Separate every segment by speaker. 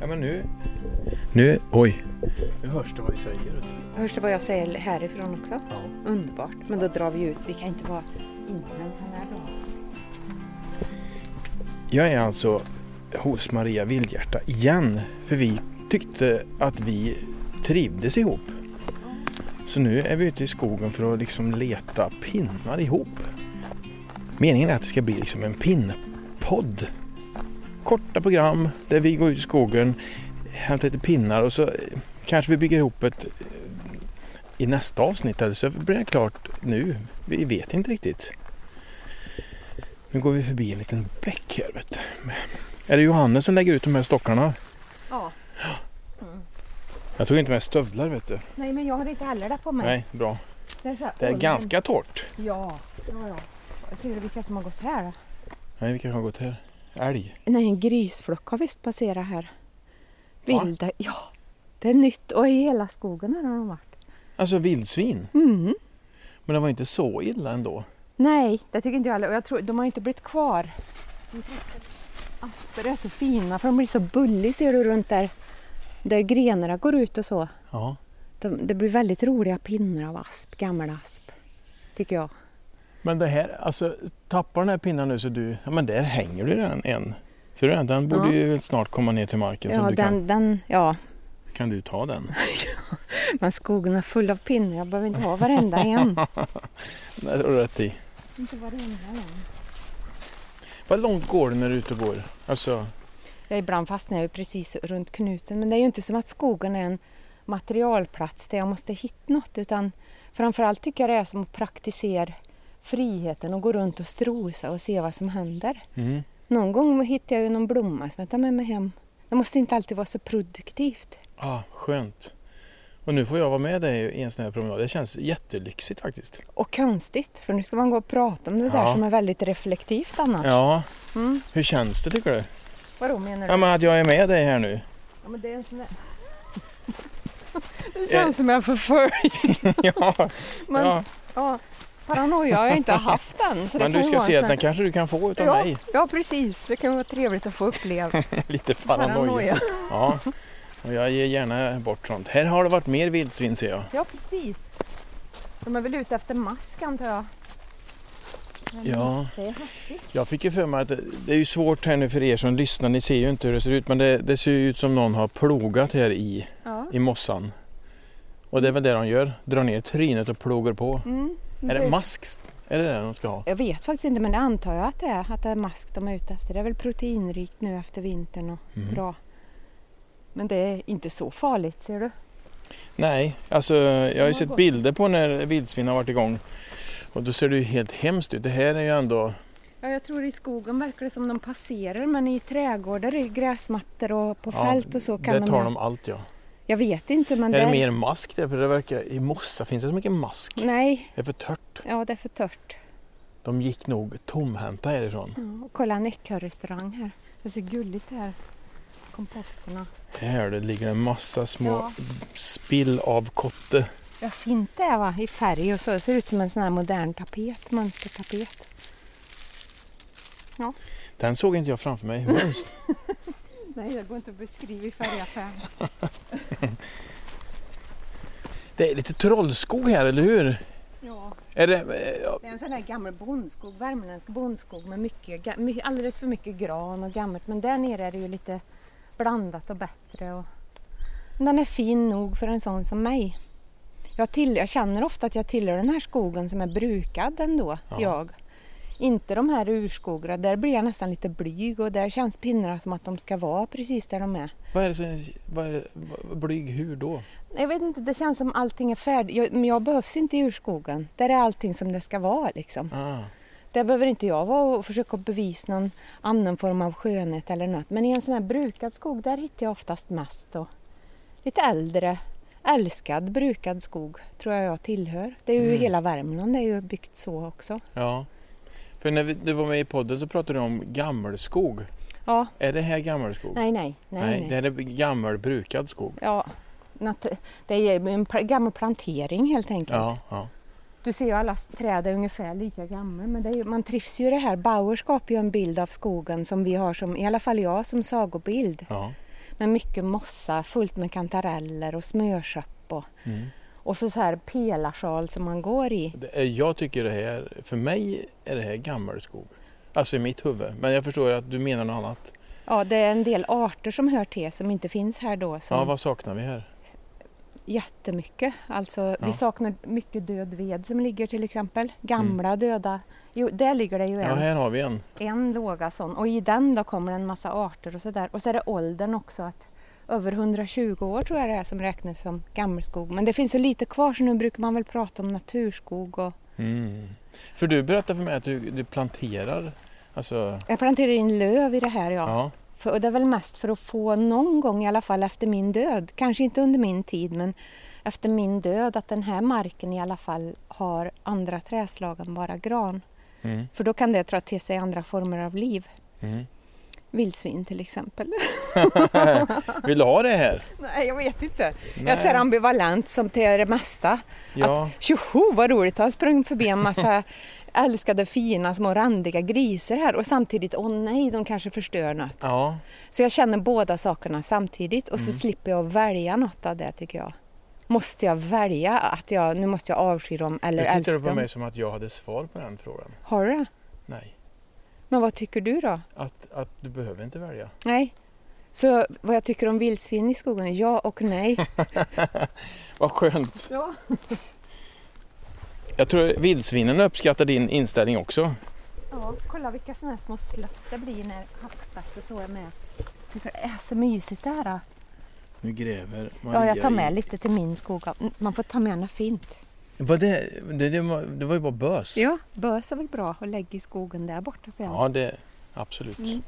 Speaker 1: Ja men nu... Nu, oj.
Speaker 2: Nu hörs det vad vi säger. vet du.
Speaker 3: Hörs det vad jag säger härifrån också?
Speaker 2: Ja.
Speaker 3: Underbart. Men då drar vi ut. Vi kan inte vara inne en sån här dag.
Speaker 1: Jag är alltså hos Maria Vildhjärta igen. För vi tyckte att vi trivdes ihop. Så nu är vi ute i skogen för att liksom leta pinnar ihop. Meningen är att det ska bli liksom en pinnpodd. Korta program där vi går ut i skogen, hämtar lite pinnar och så eh, kanske vi bygger ihop ett eh, i nästa avsnitt eller så blir det klart nu. Vi vet inte riktigt. Nu går vi förbi en liten bäck här vet du. Är det Johannes som lägger ut de här stockarna?
Speaker 3: Ja. Mm.
Speaker 1: Jag tog inte med stövlar vet du.
Speaker 3: Nej, men jag har inte heller det på mig.
Speaker 1: Nej, bra.
Speaker 3: Det är, så här,
Speaker 1: Det är
Speaker 3: åh,
Speaker 1: ganska torrt.
Speaker 3: men- Ja, ja, ja. Jag Ser du vilka som har gått här? då?
Speaker 1: Nej, vilka har gått här? Älg.
Speaker 3: Nej, en grisflock har visst passerat här.
Speaker 1: Va?
Speaker 3: Vilda, ja. Det är nytt och i hela skogen här har de varit.
Speaker 1: Alltså vildsvin.
Speaker 3: Mm.
Speaker 1: Men det var inte så illa ändå.
Speaker 3: Nej, det tycker inte jag heller. Och jag tror, de har inte blivit kvar. Asper är så fina för de blir så bullig ser du runt där. Där grenarna går ut och så.
Speaker 1: Ja.
Speaker 3: De, det blir väldigt roliga pinnar av asp, gammal asp. Tycker jag.
Speaker 1: Men det här, alltså tappar den här pinnan nu så du... Ja, men där hänger du den en. Ser du den? Den borde
Speaker 3: Ja.
Speaker 1: ju snart komma ner till marken. så
Speaker 3: ja,
Speaker 1: du
Speaker 3: den,
Speaker 1: kan,
Speaker 3: den, ja,
Speaker 1: kan du ta den?
Speaker 3: men skogen är full av pinnar. Jag behöver inte ha varenda en.
Speaker 1: Det har du rätt i.
Speaker 3: inte varenda en.
Speaker 1: Vad långt går det när du är ute och går? Alltså,
Speaker 3: Jag ibland fastnar jag ju precis runt knuten. Men det är ju inte som att skogen är en materialplats där jag måste hitta något. Utan framförallt tycker jag det är som att praktisera friheten och gå runt och strosa och se vad som händer.
Speaker 1: mm.
Speaker 3: Någon gång hittar jag ju någon blomma som jag tar med mig hem. Det måste inte alltid vara så produktivt.
Speaker 1: ah, skönt. Och nu får jag vara med dig i en sån här promenad. Det känns jättelyxigt faktiskt.
Speaker 3: Och konstigt, för nu ska man gå och prata om det där
Speaker 1: Ja.
Speaker 3: som är väldigt reflektivt annars.
Speaker 1: Ja,
Speaker 3: Mm.
Speaker 1: hur känns det tycker du?
Speaker 3: Vadå menar du?
Speaker 1: Ja, men att jag är med dig här nu.
Speaker 3: Ja, men det, är en sån där... det
Speaker 1: Eh.
Speaker 3: känns som jag är förföljd.
Speaker 1: ja,
Speaker 3: Men,
Speaker 1: ja.
Speaker 3: ja. paranoia har jag inte haft än. Så det
Speaker 1: Men du
Speaker 3: kan ju
Speaker 1: ska
Speaker 3: vara
Speaker 1: se
Speaker 3: en
Speaker 1: att
Speaker 3: sån
Speaker 1: den kanske du kan få utav
Speaker 3: Ja.
Speaker 1: mig.
Speaker 3: Ja, precis. Det kan vara trevligt att få uppleva.
Speaker 1: Lite paranoia. Ja. Och jag ger gärna bort sånt. Här har det varit mer vildsvin ser jag.
Speaker 3: Ja, precis. De är väl ute efter mask antar jag.
Speaker 1: Ja.
Speaker 3: Det är häftigt.
Speaker 1: Jag fick ju för mig att det, det är ju svårt här nu för er som lyssnar. Ni ser ju inte hur det ser ut men det, det ser ju ut som någon har plogat här i,
Speaker 3: Ja.
Speaker 1: i mossan. Och det är väl det de gör. Drar ner trynet och plogar på.
Speaker 3: Mm.
Speaker 1: Är det mask? Är det det de ska ha?
Speaker 3: jag vet faktiskt inte, men det antar jag att det är. Att det är mask de är ute efter. Det är väl proteinrikt nu efter vintern och
Speaker 1: Mm.
Speaker 3: bra. Men det är inte så farligt, ser du.
Speaker 1: Nej, alltså jag har
Speaker 3: har
Speaker 1: ju sett
Speaker 3: gått.
Speaker 1: bilder på när vildsvin har varit igång. Och då ser det ju helt hemskt ut. Det här är ju ändå...
Speaker 3: Ja, jag tror i skogen verkar det som de passerar, men i trädgårdar, i gräsmattor och på
Speaker 1: Ja,
Speaker 3: fält och så kan
Speaker 1: där
Speaker 3: de...
Speaker 1: tar de allt ja.
Speaker 3: Jag vet inte, men...
Speaker 1: Är
Speaker 3: där-
Speaker 1: det mer mask där? För det verkar, i mossa finns det så mycket mask.
Speaker 3: Nej,
Speaker 1: Det är för torrt.
Speaker 3: ja det är för törrt.
Speaker 1: De gick nog tomhänta härifrån.
Speaker 3: Ja, och kolla en ekorrestaurang här. Det är så gulligt här. Komposterna.
Speaker 1: Här det ligger en massa små
Speaker 3: Ja.
Speaker 1: spill av kotte.
Speaker 3: Vad fint det är va? I färg och så. Det ser ut som en sån här modern tapet, mönstertapet.
Speaker 1: Den såg inte jag framför mig. Mönster.
Speaker 3: Nej, det går inte att beskriva i färgaffären.
Speaker 1: det är lite trollskog här, eller hur?
Speaker 3: Ja,
Speaker 1: Är det, eh, ja,
Speaker 3: det är en sån här gammal bondskog, värmländsk bondskog med mycket, ga- my- alldeles för mycket gran och gammalt. Men där nere är det ju lite blandat och bättre. Och... Men Den är fin nog för en sån som mig. Jag, till, jag känner ofta att jag tillhör den här skogen som är brukad ändå,
Speaker 1: Ja.
Speaker 3: jag. Inte de här urskogarna, där blir jag nästan lite blyg och där känns pinnarna som att de ska vara precis där de är.
Speaker 1: vad är det som... Vad är det, vad- blyg hur då?
Speaker 3: Jag vet inte, det känns som allting är färdigt. Jag, men jag behövs inte i urskogen. Där är allting som det ska vara liksom.
Speaker 1: Ah.
Speaker 3: Där behöver inte jag vara och försöka bevisa någon annan form av skönhet eller något. Men i en sån här brukad skog, där hittar jag oftast mest och lite äldre, älskad, brukad skog tror jag jag tillhör. Det är ju
Speaker 1: Mm.
Speaker 3: hela Värmland, det är ju byggt så också.
Speaker 1: Ja. För när vi, du var med i podden så pratade du om gammelskog.
Speaker 3: Ja,
Speaker 1: Är det här gammelskog?
Speaker 3: nej, nej, nej. nej,
Speaker 1: Det här är gammal brukad skog.
Speaker 3: Ja, nat- det är ju en pla- gammal plantering helt enkelt.
Speaker 1: Ja, ja.
Speaker 3: Du ser ju alla träd är ungefär lika gamla men det är ju, man trivs ju i det här. Bauer skapar ju en bild av skogen som vi har som, i alla fall jag, som sagobild.
Speaker 1: ja.
Speaker 3: med mycket mossa fullt med kantareller och smörköp och,
Speaker 1: Mm.
Speaker 3: och så, så här pelarsal som man går i.
Speaker 1: Det är, jag tycker det här, för mig är det här gammelskog. Alltså i mitt huvud. Men jag förstår att du menar något annat.
Speaker 3: Ja, det är en del arter som hör till som inte finns här då. Som,
Speaker 1: Ja, vad saknar vi här?
Speaker 3: jättemycket. Alltså,
Speaker 1: Ja. Mm.
Speaker 3: Vi saknar mycket död ved som ligger till exempel. Gamla döda. Jo, där ligger det ju
Speaker 1: Ja,
Speaker 3: en,
Speaker 1: här har vi en.
Speaker 3: en låga sån. Och i den då kommer det en massa arter och sådär. Och så är det åldern också. att Över 120 år tror jag det är som räknas som gammelskog. Men det finns så lite kvar så nu brukar man väl prata om naturskog. Och...
Speaker 1: Mm. För du berättade för mig att du, du planterar. Alltså,
Speaker 3: Jag planterar in löv i det här ja.
Speaker 1: ja.
Speaker 3: För, och det är väl mest för att få någon gång i alla fall efter min död, kanske inte under min tid men efter min död att den här marken i alla fall har andra träslag än bara gran.
Speaker 1: Mm.
Speaker 3: För då kan det dra till sig andra former av liv.
Speaker 1: Mm.
Speaker 3: Vildsvin till exempel.
Speaker 1: Vill du ha det här?
Speaker 3: Nej, jag vet inte. Jag
Speaker 1: Nej.
Speaker 3: är så här ambivalent som till det mesta.
Speaker 1: Ja,
Speaker 3: Tjoho, vad roligt! Jag sprang förbi en massa älskade fina små randiga grisar här och samtidigt, åh nej, de kanske förstör något.
Speaker 1: ja.
Speaker 3: Så jag känner båda sakerna samtidigt och så
Speaker 1: Mm.
Speaker 3: slipper jag välja något av det tycker jag. Måste jag välja att jag, nu måste jag avsky dem eller
Speaker 1: Nu tittar
Speaker 3: älska
Speaker 1: du på
Speaker 3: dem?
Speaker 1: mig som att jag hade svar på den frågan.
Speaker 3: Har du det?
Speaker 1: Nej,
Speaker 3: Men vad tycker du då?
Speaker 1: att, att du behöver inte välja.
Speaker 3: Nej. Så vad jag tycker om vildsvin i skogen? Ja och nej.
Speaker 1: Vad skönt!
Speaker 3: Ja.
Speaker 1: Jag tror vildsvinen uppskattar din inställning också.
Speaker 3: ja kolla vilka sådana här små slott det blir när hackspett och så är med. Det är så mysigt det här.
Speaker 1: Nu gräver
Speaker 3: Ja, jag tar med lite till min skog. Mm, Man får ta med något fint.
Speaker 1: Var det, det, det, var, det var ju bara bös.
Speaker 3: Ja, bös är väl bra att lägga i skogen där borta sen.
Speaker 1: Ja, det, absolut.
Speaker 3: Mm.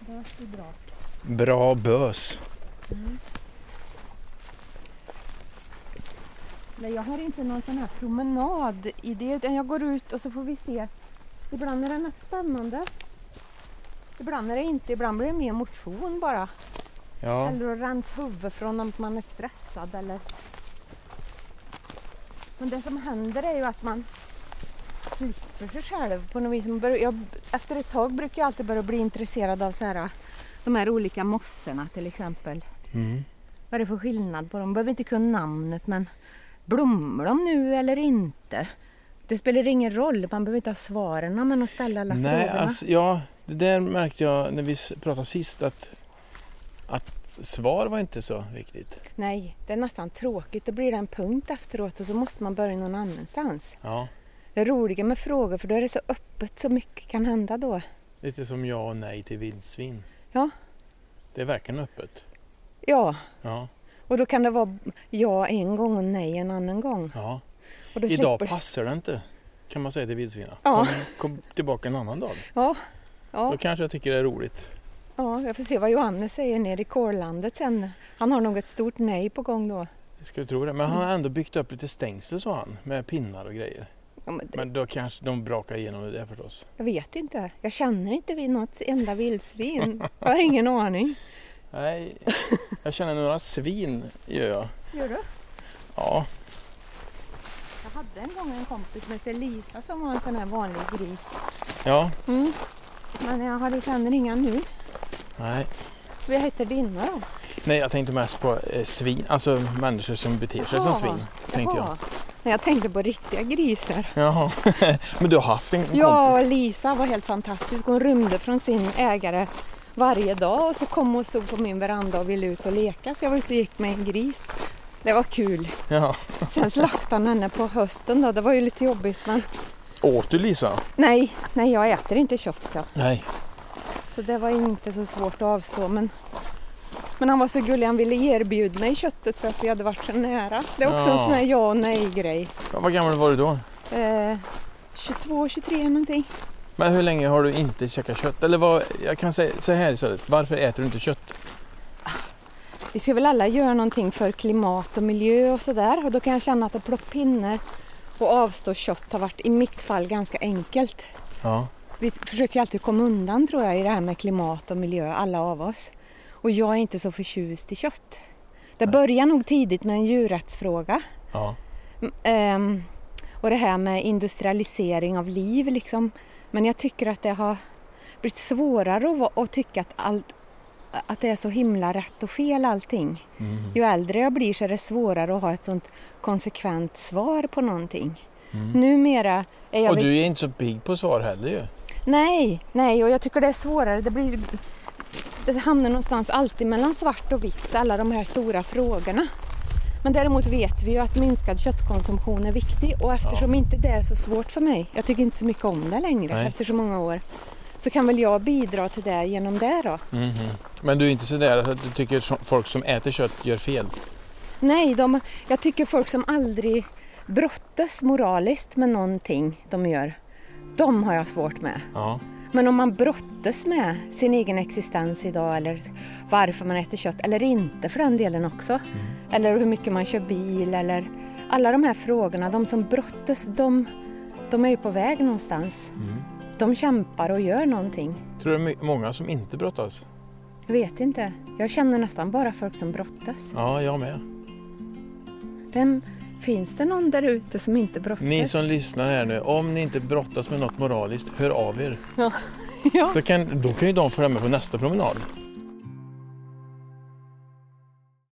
Speaker 3: Bös är bra. Mm.
Speaker 1: Bra bös.
Speaker 3: Nej, jag har inte någon sån här promenad i det, utan jag går ut och så får vi se. Ibland är det något spännande. Ibland är det inte, ibland blir det mer motion bara.
Speaker 1: Ja.
Speaker 3: Eller att rensa huvudet från om man är stressad eller... Men det som händer är ju att man slipper sig själv på något vis. Man börjar, jag, efter ett tag brukar jag alltid börja bli intresserad av så här, de här olika mossorna till exempel.
Speaker 1: Mm.
Speaker 3: Vad är det för skillnad på dem? Behöver inte kunna namnet men blommar de nu eller inte? Det spelar ingen roll, man behöver inte ha svaren men att ställa alla
Speaker 1: Nej,
Speaker 3: frågorna.
Speaker 1: alltså, ja, det där märkte jag när vi s- pratade sist att, att svar var inte så viktigt.
Speaker 3: Nej, det är nästan tråkigt. Då blir det en punkt efteråt och så måste man börja någon annanstans.
Speaker 1: Ja.
Speaker 3: Det är roligare med frågor för då är det så öppet, så mycket kan hända då.
Speaker 1: Lite som ja och nej till vildsvin.
Speaker 3: Ja.
Speaker 1: Det är verkligen öppet.
Speaker 3: Ja,
Speaker 1: Ja.
Speaker 3: och då kan det vara ja en gång och nej en annan gång.
Speaker 1: ja.
Speaker 3: Och då
Speaker 1: Idag
Speaker 3: slipper-
Speaker 1: passar det inte kan man säga till vildsvinen. Kom,
Speaker 3: Ja.
Speaker 1: kom tillbaka en annan dag.
Speaker 3: Ja,
Speaker 1: Då
Speaker 3: ja,
Speaker 1: kanske jag tycker det är roligt.
Speaker 3: ja, jag får se vad Johannes säger nere i kårlandet sen. Han har nog ett stort nej på gång då.
Speaker 1: Jag skulle tro det. Men han har ändå byggt upp lite stängsel så han. Med pinnar och grejer.
Speaker 3: Ja, men det-
Speaker 1: Men då kanske de brakar igenom det där förstås.
Speaker 3: Jag vet inte. Jag känner inte vid något enda vildsvin. Jag har ingen aning.
Speaker 1: Nej, jag känner några svin gör jag.
Speaker 3: Gör du?
Speaker 1: Ja,
Speaker 3: Jag hade en gång en kompis som hette Lisa som var en sån här vanlig gris.
Speaker 1: ja,
Speaker 3: Mm. Men jag har känner inga nu.
Speaker 1: nej.
Speaker 3: Vad heter dina då?
Speaker 1: Nej, jag tänkte mest på eh, svin. Alltså människor som beter sig som
Speaker 3: Jaha.
Speaker 1: svin. Tänkte jag.
Speaker 3: Jaha. Nej, jag tänkte på riktiga grisar.
Speaker 1: Jaha. Men du har haft en kompis?
Speaker 3: Ja, Lisa var helt fantastisk. Hon rymde från sin ägare varje dag och så kom hon och stod på min veranda och ville ut och leka. Så jag var ute och gick med en gris. Det var kul.
Speaker 1: Ja.
Speaker 3: Sen slaktade han henne på hösten då. Det var ju lite jobbigt men
Speaker 1: Åt du Lisa?
Speaker 3: Nej, nej jag äter inte kött ja.
Speaker 1: Nej.
Speaker 3: Så det var inte så svårt att avstå men men han var så gullig, han ville erbjuda mig köttet för att vi hade varit så nära. Det är också
Speaker 1: Ja.
Speaker 3: en sån här ja och nej grej.
Speaker 1: Ja, Vad gammal var du då?
Speaker 3: Eh, 22, 23 någonting.
Speaker 1: Men hur länge har du inte käkat kött? Eller vad, jag kan säga så här istället. Varför äter du inte kött?
Speaker 3: Vi ska väl alla göra någonting för klimat och miljö och sådär och då kan jag känna att att plocka pinnar och avstå kött har varit i mitt fall ganska enkelt.
Speaker 1: Ja.
Speaker 3: Vi försöker ju alltid komma undan tror jag i det här med klimat och miljö, alla av oss. Och jag är inte så förtjust i kött. Det börjar nog tidigt med en djurrättsfråga.
Speaker 1: Ja.
Speaker 3: Mm, ehm, och det här med industrialisering av liv liksom. Men jag tycker att det har blivit svårare att, vara- att tycka att allt, att det är så himla rätt och fel allting.
Speaker 1: Mm.
Speaker 3: Ju äldre jag blir så är det svårare att ha ett sånt konsekvent svar på någonting.
Speaker 1: Mm.
Speaker 3: Numera är jag...
Speaker 1: Och
Speaker 3: väl-
Speaker 1: du är inte så pigg på svar heller ju.
Speaker 3: Nej, nej, och jag tycker det är svårare. Det, blir... det hamnar någonstans alltid mellan svart och vitt, alla de här stora frågorna. Men däremot vet vi ju att minskad köttkonsumtion är viktig och eftersom inte det är så svårt för mig, jag tycker inte så mycket om det längre
Speaker 1: Nej.
Speaker 3: efter så många år, så kan väl jag bidra till det genom det då.
Speaker 1: Men du är inte sådär att du tycker som- folk som äter kött gör fel?
Speaker 3: Nej, de, jag tycker folk som aldrig brottas moraliskt med någonting de gör, de har jag svårt med.
Speaker 1: Ja.
Speaker 3: Men om man brottas med sin egen existens idag eller varför man äter kött eller inte för den delen också.
Speaker 1: Mm.
Speaker 3: Eller hur mycket man kör bil eller alla de här frågorna, de som brottas, de, de är ju på väg någonstans.
Speaker 1: Mm.
Speaker 3: De kämpar och gör någonting.
Speaker 1: Tror du det är my- många som inte brottas?
Speaker 3: Jag vet inte. Jag känner nästan bara folk som brottas.
Speaker 1: Ja, jag med.
Speaker 3: Vem, finns det någon där ute som inte brottas?
Speaker 1: Ni som lyssnar här nu, om ni inte brottas med något moraliskt, hör av er.
Speaker 3: Ja.
Speaker 1: Så kan, då kan ju de följa med på nästa promenad.